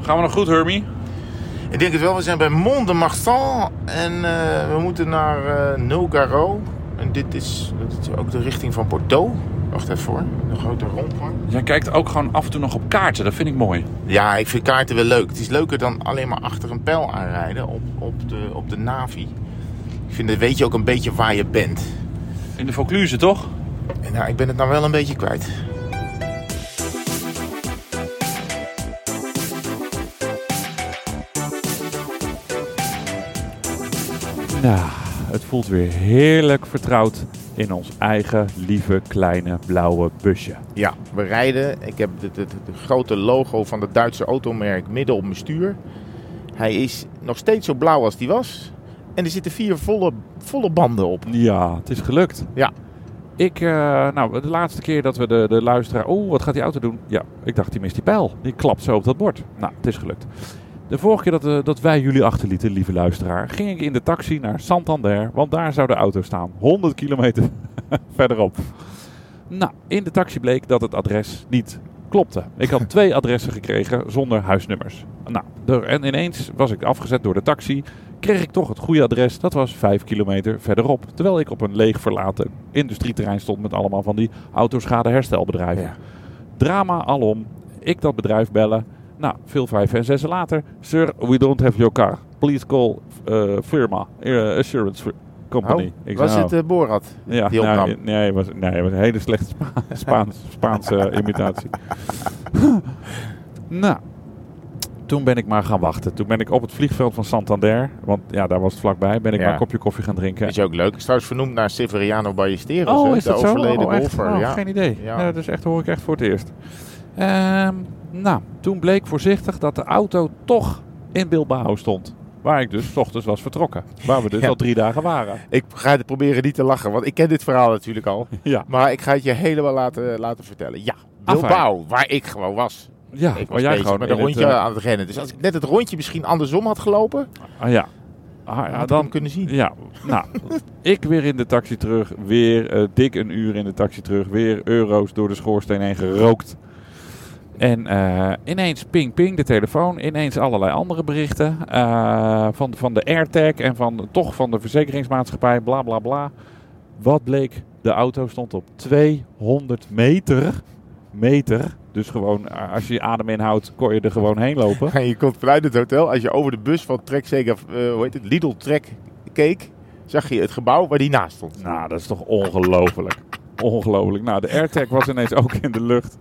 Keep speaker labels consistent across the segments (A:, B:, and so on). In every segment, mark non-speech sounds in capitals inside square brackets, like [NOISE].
A: Gaan we nog goed, Hermie?
B: Ik denk het wel. We zijn bij Mont de Marsan en eh, we moeten naar eh Nogaro. En dit is, dat is ook de richting van Bordeaux. Wacht even hoor. De grote rondgang.
A: Jij kijkt ook gewoon af en toe nog op kaarten. Dat vind ik mooi.
B: Ja, ik vind kaarten wel leuk. Het is leuker dan alleen maar achter een pijl aanrijden op, op, de, op de Navi. Ik vind, dan weet je ook een beetje waar je bent.
A: In de Vaucluse, toch?
B: En nou, ik ben het nou wel een beetje kwijt.
C: Nou, het voelt weer heerlijk vertrouwd in ons eigen lieve kleine blauwe busje.
B: Ja, we rijden. Ik heb het grote logo van het Duitse automerk midden op mijn stuur. Hij is nog steeds zo blauw als die was. En er zitten vier volle, volle banden op.
C: Ja, het is gelukt.
B: Ja.
C: Ik, eh, nou, de laatste keer dat we de, de luisteraar... Oeh, wat gaat die auto doen? Ja, ik dacht, die mist die pijl. Die klapt zo op dat bord. Nou, het is gelukt. De vorige keer dat, eh, dat wij jullie achterlieten, lieve luisteraar... ging ik in de taxi naar Santander, want daar zou de auto staan. 100 kilometer [LAUGHS] verderop. Nou, in de taxi bleek dat het adres niet klopte. Ik
B: [LAUGHS]
C: had twee adressen gekregen zonder huisnummers. Nou, er- en ineens was ik afgezet door de taxi. Kreeg ik toch het goede adres, dat was 5 kilometer verderop. Terwijl ik op een leeg verlaten industrieterrein stond met allemaal van die autoschadeherstelbedrijven.
B: Ja.
C: Drama alom. Ik dat bedrijf bellen. Nou, veel vijf en zes later. Sir, we don't have your car. Please call eh, firma, eh, assurance fir- company.
B: Oh,
C: Ik
B: was
C: zei, nou-
B: het eh, Borat?
C: ja,
B: Die
C: nou,
B: opnam.
C: nee, het was, nee, het was een hele slechte
B: [LAUGHS]
C: Spa- Spaans, Spaanse eh, imitatie. [LAUGHS] nou, toen ben ik maar gaan wachten. Toen ben ik op het vliegveld van Santander, want ja, daar was het vlakbij, ben ik
B: Ja.
C: maar een kopje koffie gaan drinken.
B: Is je ook leuk. Is trouwens vernoemd naar Severiano Ballesteros.
C: Oh,
B: hè,
C: is dat zo?
B: de overleden
C: oh, echt?
B: golfer.
C: Oh,
B: ja.
C: Geen idee.
B: Ja.
C: Nou, dus echt hoor ik echt voor het eerst. Ehm, nou, toen bleek voorzichtig dat de auto toch in Bilbao stond. Waar ik dus 's ochtends was vertrokken. Waar we dus
B: Ja.
C: al drie dagen waren.
B: Ik ga het proberen niet te lachen, want ik ken dit verhaal natuurlijk
C: [LAUGHS]
B: al.
C: Ja,
B: Maar ik ga het je helemaal laten, laten vertellen. Ja, Bilbao, waar ik gewoon was.
C: ja
B: Ik was
C: Ah, waar jij
B: bezig
C: gewoon
B: met een
C: in het,
B: rondje
C: eh,
B: aan het rennen. Dus als ik net het rondje misschien andersom had gelopen,
C: Ah ja. Ah,
B: had
C: ja,
B: ik hem
C: dan,
B: kunnen zien.
C: ja, nou, [LAUGHS] ik weer in de taxi terug. Weer eh, dik een uur in de taxi terug. Weer euro's door de schoorsteen heen gerookt. En eh, ineens ping ping de telefoon. Ineens allerlei andere berichten. eh, van, van de AirTag en van, toch van de verzekeringsmaatschappij. Bla bla bla. Wat bleek? De auto stond op 200 meter. Meter. Dus gewoon, eh, als je je adem inhoudt, kon je er gewoon heen
B: [LAUGHS]
C: lopen.
B: En je komt vanuit het hotel, als je over de bus van Trek Sega, eh, hoe heet het, Lidl Trek keek, zag je het gebouw waar die naast stond.
C: Nou, dat is toch ongelooflijk. Ongelooflijk. Nou, de AirTag was ineens ook in de lucht.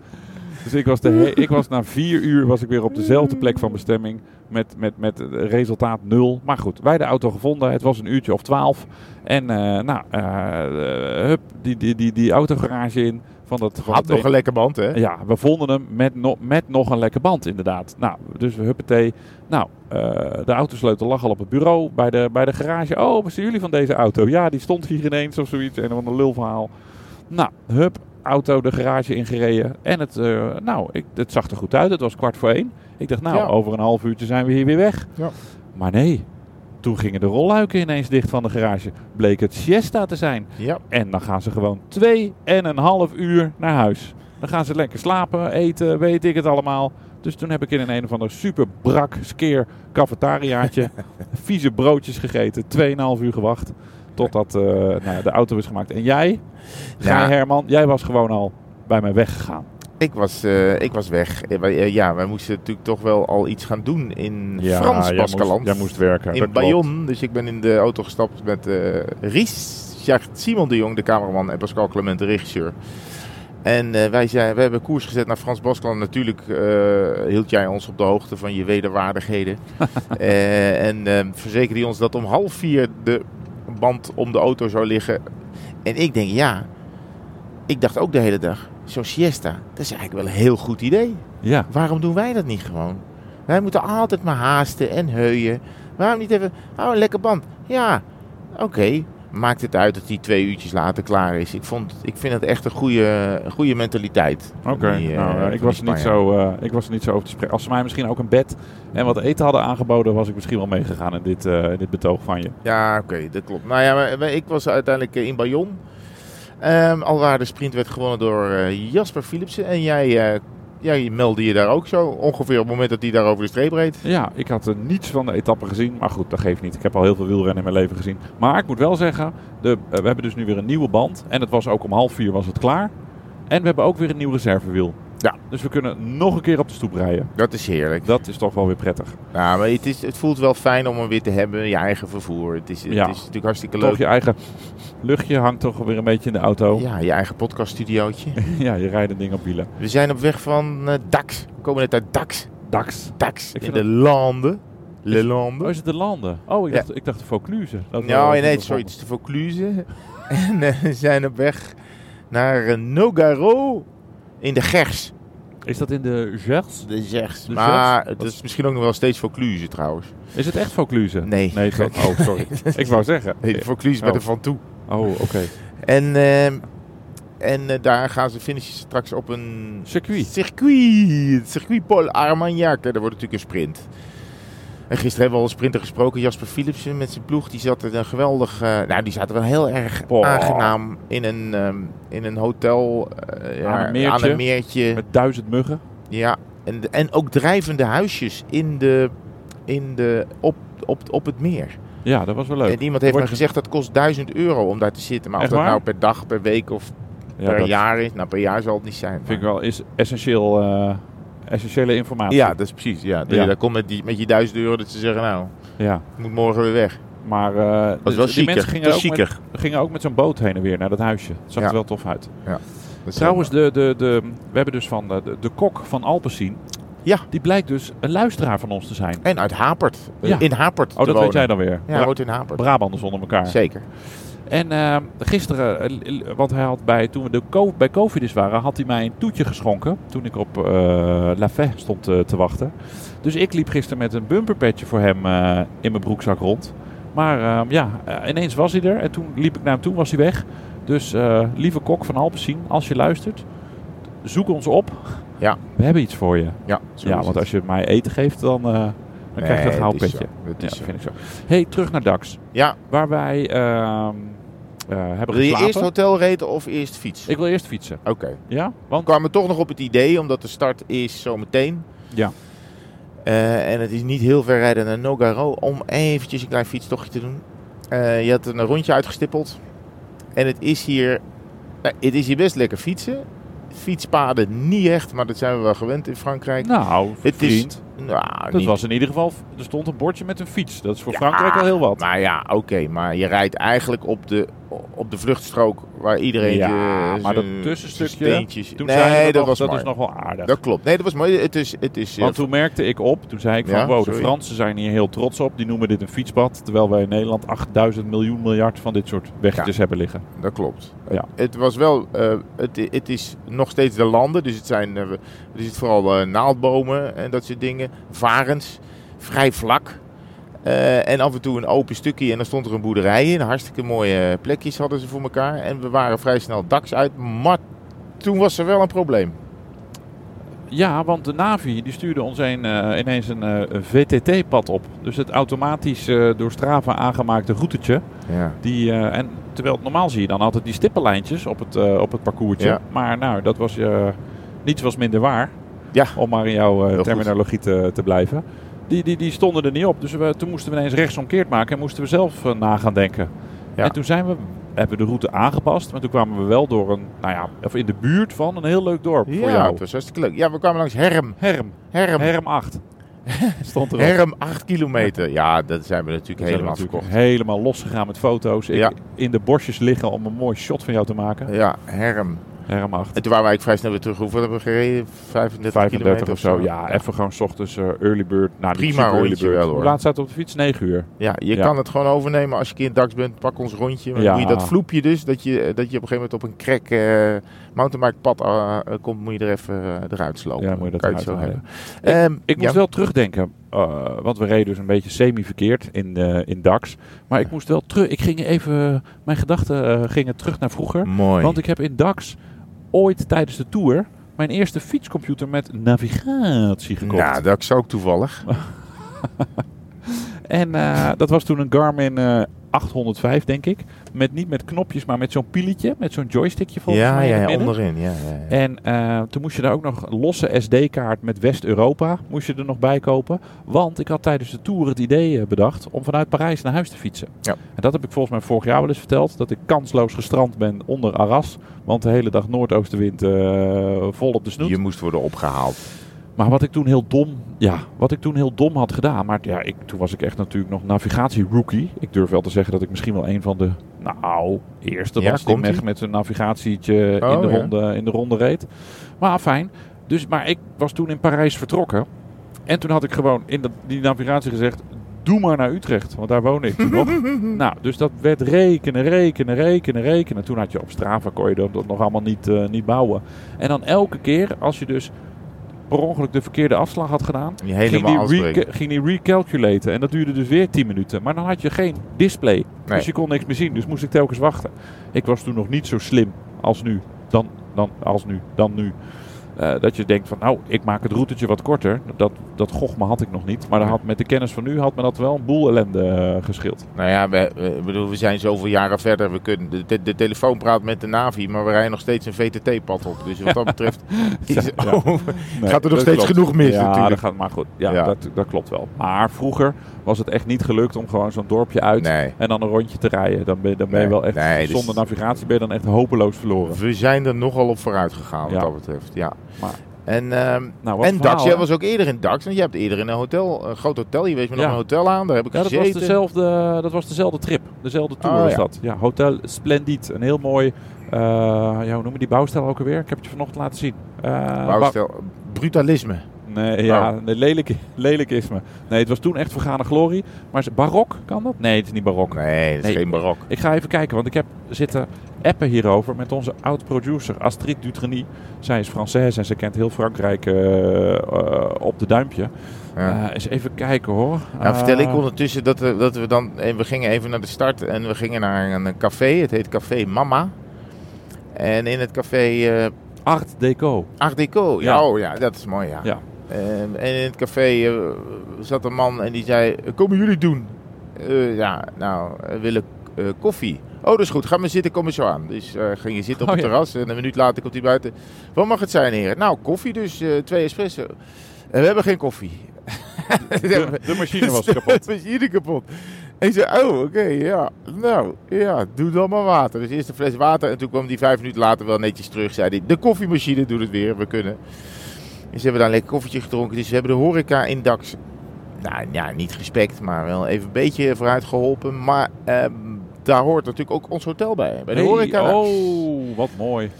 C: Dus ik was, de he- ik was na vier uur was ik weer op dezelfde plek van bestemming. Met, met, met eh, resultaat nul. Maar goed, wij de auto gevonden. Het was een uurtje of twaalf. En eh, nou, eh, eh, hup, die, die, die, die autogarage in. Van dat, van
B: Had
C: dat
B: nog een lekker band, hè?
C: ja, we vonden hem met, no- met nog een lekke band, inderdaad. Nou, dus we huppatee. Nou, eh, de autosleutel lag al op het bureau bij de, bij de garage. Oh, wat zijn jullie van deze auto? Ja, die stond hier ineens of zoiets. Een of ander lulverhaal. Nou, hup, auto de garage ingereden. En het, eh, nou, ik, het zag er goed uit. Het was kwart voor één. Ik dacht, nou,
B: Ja.
C: over een half uurtje zijn we hier weer weg.
B: Ja.
C: Maar nee, toen gingen de rolluiken ineens dicht van de garage. Bleek het siesta te zijn.
B: Ja.
C: En dan gaan ze gewoon twee en een half uur naar huis. Dan gaan ze lekker slapen, eten, weet ik het allemaal. Dus toen heb ik in een een of ander super brak, skeer [LAUGHS] cafetariaatje vieze broodjes gegeten. 2,5 uur gewacht totdat eh, nou, de auto is gemaakt. En jij, Gij
B: Ja.
C: Herman, jij was gewoon al bij mij weggegaan.
B: Ik was, eh, ik was weg. Eh, wij- eh, Ja, wij moesten natuurlijk toch wel al iets gaan doen in Frans Baskeland.
C: Jij moest werken.
B: in Bayonne. Dus ik ben in de auto gestapt met eh Ries, Jacques Simon de Jong, de cameraman, en Pascal Clement, de regisseur. En eh, wij, zei, we hebben koers gezet naar Frans Baskeland. Natuurlijk eh, hield jij ons op de hoogte van je wederwaardigheden. Eh, en eh, verzekerde hij ons dat om half vier de band om de auto zou liggen. En ik denk, ja, ik dacht ook de hele dag, zo'n siesta, dat is eigenlijk wel een heel goed idee.
C: Ja,
B: Waarom doen wij dat niet gewoon? Wij moeten altijd maar haasten en heuien. Waarom niet even... Oh, een lekker band. Ja, oké. Maakt het uit dat die twee uurtjes later klaar is. Ik, vond, ik vind het echt een goede, een goede mentaliteit.
C: oké.
B: Die, eh,
C: Nou,
B: van
C: eh,
B: die
C: ik, was er niet
B: Spanjaarden.
C: zo, eh, ik was er niet zo over te spreken. Als ze mij misschien ook een bed en wat eten hadden aangeboden, was ik misschien wel meegegaan in dit, eh, in dit betoog van je.
B: Ja, oké, dat klopt. Nou ja, maar, maar ik was uiteindelijk eh, in Bayonne. Ehm, alwaar de sprint werd gewonnen door eh, Jasper Philipsen. En jij eh, jij meldde je daar ook zo. Ongeveer op het moment dat hij daar over de streep reed.
C: Ja, ik had er niets van de etappe gezien. Maar goed, dat geeft niet. Ik heb al heel veel wielrennen in mijn leven gezien. Maar ik moet wel zeggen, de, eh, we hebben dus nu weer een nieuwe band. En het was ook om half vier was het klaar. En we hebben ook weer een nieuw reservewiel.
B: Ja.
C: Dus we kunnen nog een keer op de stoep rijden.
B: Dat is heerlijk.
C: Dat is toch wel weer prettig.
B: Ja, Nou, maar het, is, het voelt wel fijn om hem weer te hebben, je eigen vervoer. Het is, het
C: Ja.
B: is natuurlijk hartstikke
C: Toch
B: leuk.
C: je eigen luchtje hangt toch weer een beetje in de auto. [LAUGHS] Ja,
B: Ja, je eigen podcaststudiootje.
C: je rijdt een ding op wielen.
B: We zijn op weg van eh, Dax. We komen net uit Dax.
C: Dax.
B: Dax.
C: Ik
B: in
C: vind
B: de landen. Le
C: Oh,
B: landen.
C: is het de landen? Oh, ik
B: Ja.
C: dacht, ik dacht de Vaucluse. Dat we-
B: Nou,
C: dat we
B: nee, sorry.
C: begonnen.
B: Het is de Vaucluse. [LAUGHS] en eh, we zijn op weg naar eh, Nogaro in de Gers.
C: Is dat in de Gers?
B: De Gers.
C: De
B: Maar
C: Gers?
B: het is misschien ook nog wel steeds Vaucluse trouwens.
C: Is het echt Vaucluse?
B: Nee.
C: Nee, dat- oh, sorry. ik wou zeggen.
B: [LAUGHS] Nee, de Vaucluse bij
C: Oh.
B: de Van Toe.
C: Oh, oké.
B: En, ehm, en eh, daar gaan ze finishen straks op een
C: Circuit.
B: Circuit. Het Circuit Paul Armagnac. En Dat wordt natuurlijk een sprint. En gisteren hebben we al een sprinter gesproken. Jasper Philipsen met zijn ploeg. Die zat er een geweldig... eh, nou, die zaten wel heel erg
C: Boah.
B: aangenaam in een, ehm, in een hotel. eh, ja,
C: Aan een meertje.
B: Aan een meertje.
C: Met duizend muggen.
B: Ja. En, en ook drijvende huisjes in de, in de, op, op, op het meer.
C: Ja, dat was wel leuk.
B: En iemand heeft
C: Wordt-
B: mij gezegd dat kost 1000 euro om daar te zitten. Maar of
C: Echt
B: dat
C: waar?
B: nou per dag, per week of
C: Ja,
B: per
C: dat
B: jaar is. Nou, per jaar zal het niet zijn. maar-
C: vind ik wel is essentieel, eh, essentiële informatie.
B: Ja, dat is precies. Ja. Dat je
C: Ja.
B: daar komt met die, met die duizend euro dat ze zeggen, nou,
C: Ja.
B: ik moet morgen weer weg.
C: Maar eh,
B: Dat is wel
C: die
B: chiquer.
C: mensen
B: Dat
C: gingen
B: is
C: ook, met,
B: chiquer.
C: gingen ook met zo'n boot heen en weer naar dat huisje. Het zag
B: Ja.
C: er wel tof uit.
B: Dat is
C: Trouwens, de, de, de, we hebben dus van de, de, de kok van Alpecin.
B: Ja.
C: Die blijkt dus een luisteraar van ons te zijn.
B: En uit Hapert. eh,
C: Ja.
B: In Hapert
C: Oh, dat weet jij dan weer.
B: Ja, hij woont in Hapert.
C: Brabanders onder elkaar.
B: Zeker.
C: En eh, gisteren, eh, l- l- want hij had bij, toen we de co- bij Covidis waren, had hij mij een toetje geschonken. Toen ik op eh La Fée stond eh, te wachten. Dus ik liep gisteren met een bumperpetje voor hem eh, in mijn broekzak rond. Maar eh, ja, eh, ineens was hij er. En toen liep ik naar hem toe, was hij weg. Dus eh, lieve kok van Alpecin, als je luistert, zoek ons op.
B: Ja.
C: We hebben iets voor je.
B: Ja, zo
C: ja,
B: is
C: want
B: het.
C: als je mij eten geeft, dan, eh, dan krijg je
B: Nee,
C: een gouden
B: het is
C: petje.
B: zo. Het
C: Ja,
B: is zo.
C: vind ik zo. hey, terug naar DAX.
B: Ja.
C: Waar wij ehm, eh, hebben
B: Wil je
C: geslapen.
B: eerst hotel reden of eerst fiets?
C: Ik wil eerst fietsen.
B: Oké.
C: Ja?
B: Ik
C: Want
B: kwam er toch nog op het idee, omdat de start is zometeen.
C: Ja.
B: Eh, en het is niet heel ver rijden naar Nogaro om eventjes een klein fietstochtje te doen. Eh, je had een rondje uitgestippeld. En het is hier, nou, het is hier best lekker fietsen. Fietspaden niet echt, maar dat zijn we wel gewend in Frankrijk.
C: nou,
B: het is-
C: vriend,
B: nou,
C: dat
B: niet-
C: was in ieder geval... Er stond een bordje met een fiets. Dat is voor
B: Ja,
C: Frankrijk al heel wat.
B: Maar ja, oké, maar je rijdt eigenlijk op de, op de vluchtstrook waar iedereen.
C: Ja,
B: zijn-
C: maar dat
B: zijn
C: tussenstukje,
B: steentjes-
C: toen
B: nee,
C: zei je
B: dat,
C: nog,
B: was
C: dat
B: maar.
C: is nog wel aardig.
B: Dat klopt. Nee, dat was mooi. Het is, het is eh,
C: Want toen merkte ik op, toen zei ik van...
B: Ja,
C: wow, de
B: sorry.
C: Fransen zijn hier heel trots op. Die noemen dit een fietspad. Terwijl wij in Nederland 8000 miljoen miljard van dit soort weggetjes hebben liggen.
B: Dat klopt.
C: Ja.
B: Het was wel, eh, het, i- het is nog steeds de landen, dus het zijn eh, we- er zit vooral eh, naaldbomen en dat soort dingen. Varens, vrij vlak. Eh, en af en toe een open stukje en dan stond er een boerderij in. Hartstikke mooie eh, plekjes hadden ze voor elkaar. En we waren vrij snel daks uit, maar toen was er wel een probleem.
C: Ja, want de Navi die stuurde ons een, eh, ineens een eh, VTT-pad op. Dus het automatisch eh, door Strava aangemaakte routetje.
B: Ja.
C: Die, eh, en, terwijl normaal zie je dan altijd die stippenlijntjes op het, eh op het parcoursje.
B: Ja.
C: Maar nou, dat was, eh, niets was minder waar.
B: Ja.
C: Om maar in jouw eh,
B: goed.
C: terminologie te, te blijven. Die, die, die stonden er niet op. Dus we, toen moesten we ineens rechtsomkeerd maken en moesten we zelf eh, na gaan denken.
B: Ja.
C: En toen zijn we, hebben we de route aangepast. Maar toen kwamen we wel door een, nou ja, of in de buurt van een heel leuk dorp voor
B: Ja,
C: jou.
B: het was hartstikke leuk. Ja, we kwamen langs Herm.
C: Herm.
B: Herm. Herm,
C: Herm
B: [LAUGHS]
C: 8. Stond erop.
B: 8 kilometer. Ja, dat zijn we natuurlijk
C: Zijn we
B: helemaal
C: natuurlijk
B: verkocht.
C: Helemaal losgegaan met foto's. Ik
B: Ja.
C: in de bosjes liggen om een mooi shot van jou te maken.
B: Ja, Herm.
C: Herm 8.
B: En toen waren we eigenlijk vrij snel weer terug. Hoeveel hebben we gereden? 35,
C: 35
B: kilometer
C: of zo. Ja, even gewoon 's ochtends eh, early bird. Nou, niet
B: Prima
C: super early
B: rondje
C: bird.
B: wel, hoor.
C: Hoe laat staat het op de fiets? 9 uur.
B: Ja, je
C: Ja.
B: kan het gewoon overnemen als je keer DAX bent. Pak ons rondje. Maar
C: Ja.
B: moet je dat vloepje dus, dat je, dat je op een gegeven moment op een krek eh mountainbikepad eh, eh, komt, moet je er even eh, eruit slopen.
C: Ja, moet je dat
B: kan je het zo
C: eruit
B: hebben.
C: halen.
B: Ehm,
C: Ik moest
B: ja.
C: wel terugdenken, eh, want we reden dus een beetje semi-verkeerd in, eh, in DAX. Maar ik moest wel terug, ik ging even, mijn gedachten eh, gingen terug naar vroeger.
B: Mooi.
C: Want ik heb in DAX ooit tijdens de tour mijn eerste fietscomputer met navigatie gekocht.
B: Nou, dat is ook toevallig.
C: En eh, dat was toen een Garmin eh, 805, denk ik. Met, niet met knopjes, maar met zo'n pieletje. Met zo'n joystickje volgens
B: ja,
C: mij. in
B: ja,
C: het
B: ja,
C: midden.
B: onderin. Ja, ja, ja.
C: En eh, toen moest je daar ook nog een losse SD-kaart met West-Europa moest je er nog bij kopen. Want ik had tijdens de tour het idee eh, bedacht om vanuit Parijs naar huis te fietsen.
B: Ja.
C: En dat heb ik volgens mij vorig jaar wel eens verteld. Dat ik kansloos gestrand ben onder Arras. Want de hele dag noordoostenwind eh, vol op de snoet.
B: Je moest worden opgehaald.
C: Maar wat ik toen heel dom, ja, wat ik toen heel dom had gedaan. Maar ja, ik, toen was ik echt natuurlijk nog navigatie-rookie. Ik durf wel te zeggen dat ik misschien wel een van de, nou, eerste
B: Ja,
C: was die
B: komt-ie.
C: meg met zijn navigatietje in,
B: Oh,
C: de
B: ja.
C: ronde, in de ronde reed. Maar fijn. Dus, maar ik was toen in Parijs vertrokken. En toen had ik gewoon in dat- die navigatie gezegd, doe maar naar Utrecht. Want daar woon ik toen
B: [LAUGHS]
C: nog. Nou, dus dat werd rekenen, rekenen, rekenen, rekenen. Toen had je op Strava, kon je dat- dat nog allemaal niet, eh, niet bouwen. En dan elke keer, als je dus per ongeluk de verkeerde afslag had gedaan,
B: Je
C: ging
B: helemaal
C: die,
B: afbreken.
C: reca- ging die recalculaten. En dat duurde dus weer 10 minuten. Maar dan had je geen display.
B: Nee.
C: Dus je kon niks meer zien. Dus moest ik telkens wachten. Ik was toen nog niet zo slim als nu. Dan, dan als nu, dan nu. Eh, dat je denkt van, nou, ik maak het routetje wat korter. Dat, dat gochme had ik nog niet. Maar dat had, met de kennis van nu had me dat wel een boel ellende eh, geschild.
B: Nou ja, we, we- bedoel, we zijn zoveel jaren verder. We kunnen, de, de, de telefoon praat met de Navi, maar we rijden nog steeds een VTT-pad op. Dus wat dat betreft is,
C: [LAUGHS] Ja.
B: [LAUGHS] oh,
C: Nee,
B: gaat er nog
C: dat
B: steeds
C: klopt.
B: genoeg mis
C: ja,
B: natuurlijk.
C: dat gaat maar goed. Ja,
B: Ja.
C: Dat, dat klopt wel. Maar vroeger was het echt niet gelukt om gewoon zo'n dorpje uit
B: Nee.
C: en dan een rondje te rijden. Dan ben, je- dan ben je
B: Nee,
C: wel echt,
B: nee, dus-
C: zonder navigatie ben je dan echt hopeloos verloren.
B: We zijn er nogal op vooruit gegaan wat
C: Ja.
B: dat betreft, ja.
C: Maar-
B: en ehm
C: Nou, wat
B: en
C: een
B: Dax,
C: verhaal,
B: jij
C: hè?
B: was ook eerder in Dax. Want je hebt eerder in een hotel, een groot hotel. Je wees me nog
C: Ja.
B: een hotel aan, daar heb ik
C: Ja, dat was,
B: gezeten.
C: dezelfde, dat was dezelfde trip. Dezelfde tour
B: Oh,
C: was
B: ja.
C: dat. Ja, Hotel Splendid. Een heel mooi, eh, ja, hoe noem je die bouwstijl ook alweer? Ik heb het je vanochtend laten zien. Eh,
B: Bouwstel, brutalisme.
C: Nee, ja,
B: Oh.
C: nee, lelijk, [LAUGHS] lelijk is me. Nee, het was toen echt vergane glorie. Maar ze- barok, kan dat? Nee, het is niet barok.
B: Nee, dat is
C: Nee.
B: geen barok.
C: Ik ga even kijken, want ik heb zitten appen hierover met onze oud-producer Astrid Dutreny. Zij is Française en ze kent heel Frankrijk eh, eh, op de duimpje.
B: Ja.
C: Eh, eens even kijken hoor.
B: Nou, vertel ik
C: Eh,
B: ondertussen dat we, dat we dan... eh, We gingen even naar de start en we gingen naar een café. Het heet Café Mama. En in het café eh,
C: Art Deco.
B: Art Deco. Ja.
C: Ja.
B: Oh ja, dat is mooi, ja. Ehm,
C: Ja.
B: En, en in het café eh, zat een man en die zei... Komen jullie doen? Eh, ja, nou, we willen eh, koffie. Oh, dat is goed. Ga maar zitten, kom maar zo aan. Dus eh ging je zitten op
C: Oh,
B: het
C: ja.
B: terras. En een minuut later komt hij buiten. Wat mag het zijn, heren? Nou, koffie dus. eh, twee espresso. En we hebben geen koffie. [LAUGHS]
C: De, de machine was kapot.
B: Het was ieder kapot. En ik zei, oh, oké, ja. Nou, ja, doe dan maar water. Dus eerst een fles water. En toen kwam die vijf minuten later wel netjes terug. Zei hij, de koffiemachine doet het weer. We kunnen. Dus hebben we daar lekker koffietje gedronken. Dus we hebben de horeca in Dax. Nou ja, niet gespekt, maar wel even een beetje vooruit geholpen. Maar ehm, daar hoort natuurlijk ook ons hotel bij. Bij [LAUGHS] de
C: Hey,
B: horeca.
C: oh, wat mooi.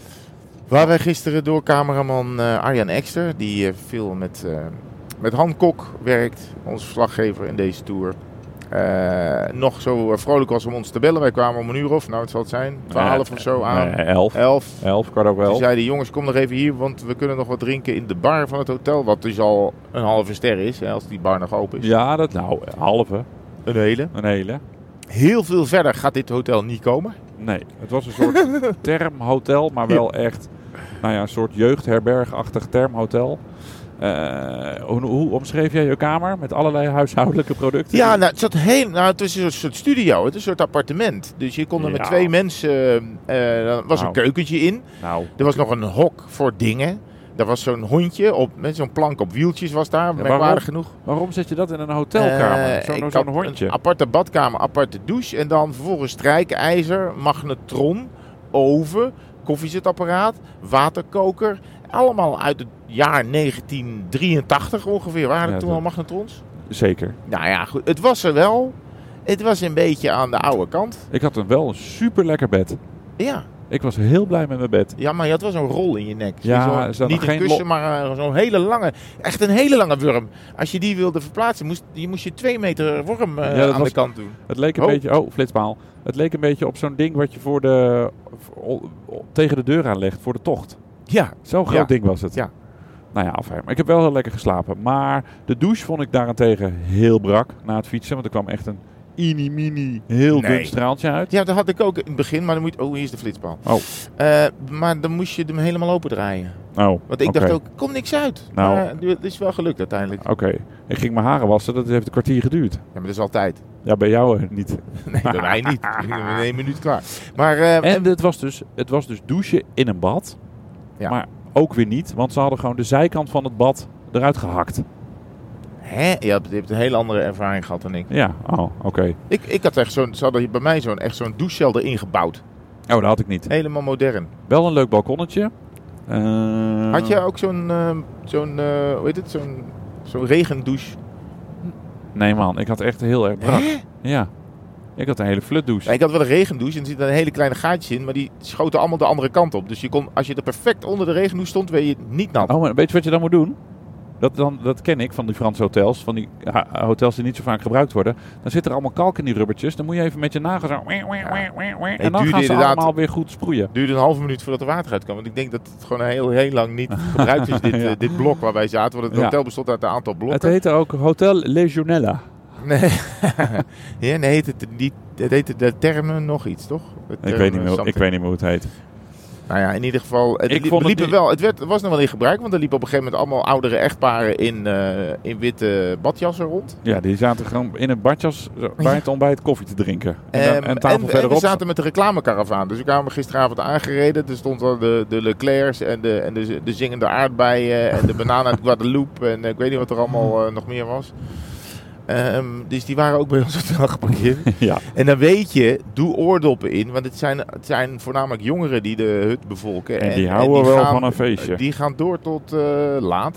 B: Waar wij gisteren door cameraman eh, Arjan Ekster, die eh, veel met, eh, met Han Kok werkt, onze verslaggever in deze tour, eh, nog zo eh, vrolijk was om ons te bellen. Wij kwamen om een uur of, nou het zal het zijn, twaalf of zo aan, Dus
C: Nee, elf.
B: elf.
C: Elf, kwart over
B: Toen
C: elf.
B: zei hij, jongens kom nog even hier, want we kunnen nog wat drinken in de bar van het hotel, wat dus al een halve ster is, hè, als die bar nog open is.
C: Ja, dat nou, halve.
B: Een hele.
C: Een hele.
B: Heel veel verder gaat dit hotel niet komen.
C: Nee, het was een
B: [LAUGHS]
C: soort termhotel, maar wel echt nou ja, een soort jeugdherbergachtig termhotel. Eh, hoe, hoe omschreef jij je kamer met allerlei huishoudelijke producten?
B: Ja, nou, het, zat heel, nou, het was een soort- soort studio, het is een soort appartement. Dus je kon er met
C: Ja.
B: twee mensen, eh, eh, er was een
C: Nou.
B: keukentje in.
C: Nou,
B: Er was nog een hok voor dingen. Er was zo'n hondje, op, met zo'n plank op wieltjes was daar,
C: waarom?
B: merkwaardig genoeg.
C: waarom zet je dat in een hotelkamer?
B: Eh,
C: Zo'n
B: ik
C: zo'n
B: had
C: hondje.
B: Een aparte badkamer, aparte douche. En dan vervolgens strijkijzer, magnetron, oven, koffiezetapparaat, waterkoker. Allemaal uit het jaar 1983 ongeveer. Waren er
C: Ja,
B: toen
C: dat-
B: al magnetrons?
C: Zeker.
B: Nou ja, goed. Het was er wel. Het was een beetje aan de oude kant.
C: Ik had een, wel een super lekker bed.
B: Ja,
C: Ik was heel blij met mijn bed.
B: ja maar je had wel zo'n rol in je nek.
C: Ja,
B: Zo'n-
C: er zat
B: niet
C: nog
B: een
C: geen
B: kussen,
C: lo-
B: maar eh, zo'n hele lange, echt een hele lange wurm. Als je die wilde verplaatsen, moest je, moest je twee meter worm eh,
C: Ja, dat
B: aan
C: was-
B: de kant doen.
C: Het leek een
B: Oh.
C: beetje, oh, flitspaal. Het leek een beetje op zo'n ding wat je voor de, voor- tegen de deur aanlegt voor de tocht.
B: Ja,
C: Zo'n groot
B: Ja.
C: ding was het.
B: Ja.
C: Nou ja, afijn. Maar ik heb wel heel lekker geslapen. Maar de douche vond ik daarentegen heel brak na het fietsen. Want er kwam echt een inimini heel
B: Nee.
C: dun straaltje uit.
B: Ja, dat had ik ook in het begin, maar dan moet Oh, hier is de flitspaal.
C: Oh.
B: Eh, maar dan moest je hem helemaal open draaien.
C: Oh,
B: Want ik
C: oké.
B: dacht ook, komt niks uit.
C: Nou. Ah.
B: Maar eh, het is wel gelukt uiteindelijk.
C: Oké, ik ging mijn haren wassen, dat heeft een kwartier geduurd.
B: Ja, maar dat is altijd. [LAUGHS]
C: Ja, bij jou eh, niet.
B: Nee,
C: [LAUGHS]
B: bij mij niet. Ik ben in één minuut klaar. Maar eh,
C: En het was dus, het was dus douchen in een bad.
B: Ja.
C: Maar ook weer niet, want ze hadden gewoon de zijkant van het bad eruit gehakt.
B: hè? Je, hebt, je hebt een hele andere ervaring gehad dan ik.
C: Ja, oh, oké.
B: Ik, ik had echt zo'n, ze hadden hier bij mij zo'n, echt zo'n douchecel erin gebouwd.
C: Oh, dat had ik niet.
B: Helemaal modern.
C: Wel een leuk balkonnetje. Eh,
B: Had je ook zo'n, eh, zo'n eh, hoe heet het, zo'n, zo'n regendouche?
C: Nee man, ik had echt heel erg brak. Ja. Ik had een hele flutdouche.
B: Ja, ik had wel een regendouche en er zitten dan hele kleine gaatjes in, maar die schoten allemaal de andere kant op. Dus je kon, als je er perfect onder de regendouche stond, werd je niet nat.
C: Oh, maar weet je wat je dan moet doen? Dat, dan, dat ken ik van die Franse hotels, van die ha- hotels die niet zo vaak gebruikt worden. Dan zit er allemaal kalk in die rubbertjes. Dan moet je even met je nagels zo... En dan gaan
B: duurde
C: ze
B: inderdaad-
C: allemaal weer goed sproeien.
B: duurde een halve minuut voordat er water uit kwam. Want ik denk dat het gewoon heel, heel lang niet gebruikt is, dit,
C: [LAUGHS] Ja.
B: eh, dit blok waar wij zaten. Want het
C: Ja.
B: hotel bestond uit een aantal
C: Het
B: blokken.
C: heette ook Hotel Legionella.
B: Nee, [LAUGHS] ja, nee heet het, niet, het heette de termen nog iets, toch? De
C: Ik
B: termen
C: weet, niet meer, hoe- ik
B: something.
C: weet niet meer hoe het heet.
B: Nou ja, in ieder geval, het,
C: Ik
B: li-
C: vond het
B: liepen
C: niet-
B: wel, het, werd, het was nog wel in gebruik. Want er liepen op een gegeven moment allemaal oudere echtparen in, eh, in witte badjassen rond.
C: Ja, die zaten gewoon in een badjas zo, bij het ontbijt koffie te drinken. En, dan-
B: Ehm,
C: en een tafel
B: en,
C: verderop.
B: we zaten met de reclamekaravaan. Dus we kwamen gisteravond aangereden. Er stonden de, de Leclerc's en de, en de, de zingende aardbeien en de banaan uit Guadeloupe. En eh, ik weet niet wat er allemaal eh, nog meer was. Ehm, dus die waren ook bij ons hotel geparkeerd.
C: [LAUGHS] ja.
B: En dan weet je, doe oordoppen in. Want het zijn, het zijn voornamelijk jongeren die de hut bevolken.
C: En die houden wel van een feestje.
B: Eh, Die gaan door tot eh, laat.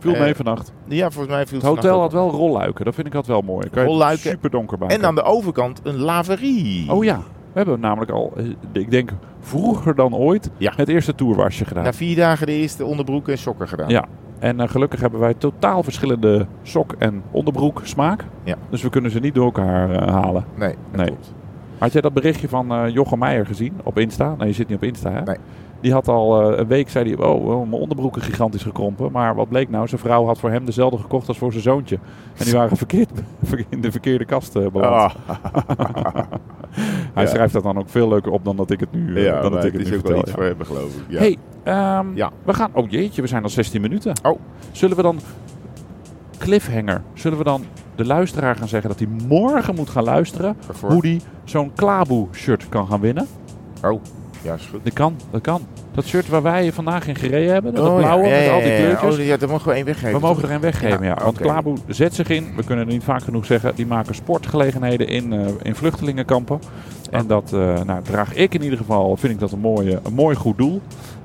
C: Viel mee
B: eh,
C: vannacht.
B: Ja, volgens mij viel
C: Het
B: vannacht
C: hotel
B: ook
C: had wel rolluiken. Dat vind ik altijd wel mooi. Kan je
B: Rolluiken.
C: super donker bij.
B: En aan de overkant een laverie.
C: Oh ja, we hebben namelijk al, eh, ik denk vroeger dan ooit,
B: Ja.
C: het eerste tourwasje gedaan.
B: Na vier dagen de eerste onderbroeken en sokken gedaan.
C: Ja. En eh, gelukkig hebben wij totaal verschillende sok- en onderbroek smaak.
B: Ja.
C: Dus we kunnen ze niet door elkaar eh, halen.
B: Nee, dat
C: Nee. Oh,
B: klopt.
C: Had jij dat berichtje van eh Jochem Meijer gezien op Insta? Nee, je zit niet op Insta, hè?
B: Nee.
C: Die had al eh, een week, zei hij, oh, oh, mijn onderbroeken gigantisch gekrompen. Maar wat bleek nou? Zijn vrouw had voor hem dezelfde gekocht als voor zijn zoontje. En die waren verkeerd, [LAUGHS] in de verkeerde kast eh, beland.
B: Ah,
C: Hij
B: Ja.
C: schrijft dat dan ook veel leuker op dan dat ik het nu, eh, dan dat
B: maar
C: ik
B: het
C: het
B: is
C: nu
B: ook wel
C: vertel.
B: iets
C: ja.
B: voor hebben, geloof ik. Ja.
C: Hey, ehm,
B: Ja.
C: we gaan. Oh jeetje, we zijn al 16 minuten.
B: Oh.
C: Zullen we dan. Cliffhanger. Zullen we dan de luisteraar gaan zeggen dat hij morgen moet gaan luisteren.
B: Waarvoor?
C: Hoe hij zo'n Klaboe-shirt kan gaan winnen?
B: Oh, ja, is goed.
C: Dat kan, dat kan. Dat shirt waar wij vandaag in gereden hebben. Dat
B: Oh,
C: blauwe
B: ja, ja,
C: met al die
B: ja, ja.
C: kleurtjes.
B: Oh, ja, daar mogen we één weggeven.
C: we mogen
B: toch?
C: er een weggeven, ja.
B: Ja,
C: Want
B: oké.
C: Klaboe zet zich in. We kunnen het niet vaak genoeg zeggen. Die maken sportgelegenheden in, eh, in vluchtelingenkampen. En dat eh, nou, draag ik in ieder geval, vind ik dat een, mooie, een mooi goed doel.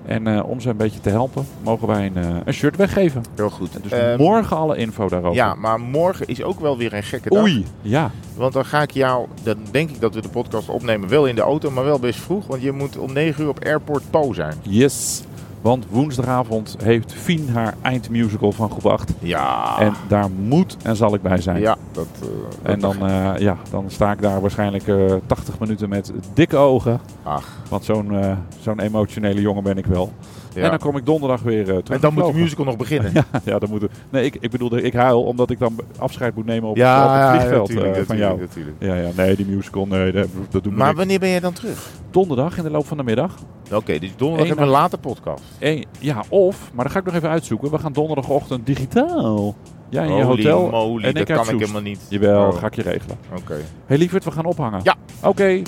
C: En eh, om ze een beetje te helpen, mogen wij een, eh, een shirt weggeven.
B: Heel goed.
C: Dus
B: Ehm,
C: morgen alle info daarover.
B: ja, maar morgen is ook wel weer een gekke dag.
C: Oei, ja.
B: Want dan ga ik jou, dan denk ik dat we de podcast opnemen, wel in de auto, maar wel best vroeg. Want je moet om 9 uur op Airport Po zijn.
C: Yes. Want woensdagavond heeft Fien haar eindmusical van groep 8.
B: Ja.
C: En daar moet en zal ik bij zijn.
B: ja, dat, eh, dat-
C: En dan, eh, ja, dan sta ik daar waarschijnlijk eh 80 minuten met dikke ogen.
B: Ach,
C: Want zo'n eh, zo'n emotionele jongen ben ik wel.
B: ja.
C: En dan kom ik donderdag weer eh, terug.
B: En dan moet de
C: gevlogen.
B: musical nog beginnen.
C: [LAUGHS] ja, dan moet het- Nee, ik, ik bedoel, ik huil omdat ik dan afscheid moet nemen op, op het vliegveld eh,
B: natuurlijk,
C: van
B: natuurlijk,
C: jou.
B: natuurlijk.
C: Ja, ja, nee, die musical, nee, dat, dat doen we
B: Maar
C: maar
B: wanneer ben jij dan terug?
C: Donderdag in de loop van de middag.
B: Oké, dus donderdag
C: Eén
B: hebben we een late podcast.
C: Eén- ja, of, maar dat ga ik nog even uitzoeken. We gaan donderdagochtend digitaal. Jij in je hotel.
B: moly,
C: en ik
B: dat
C: uit
B: kan ik
C: Soest.
B: helemaal niet.
C: Jawel,
B: Oh,
C: ga ik je regelen.
B: Oké.
C: hey, lieverd, we gaan ophangen.
B: Ja.
C: Oké,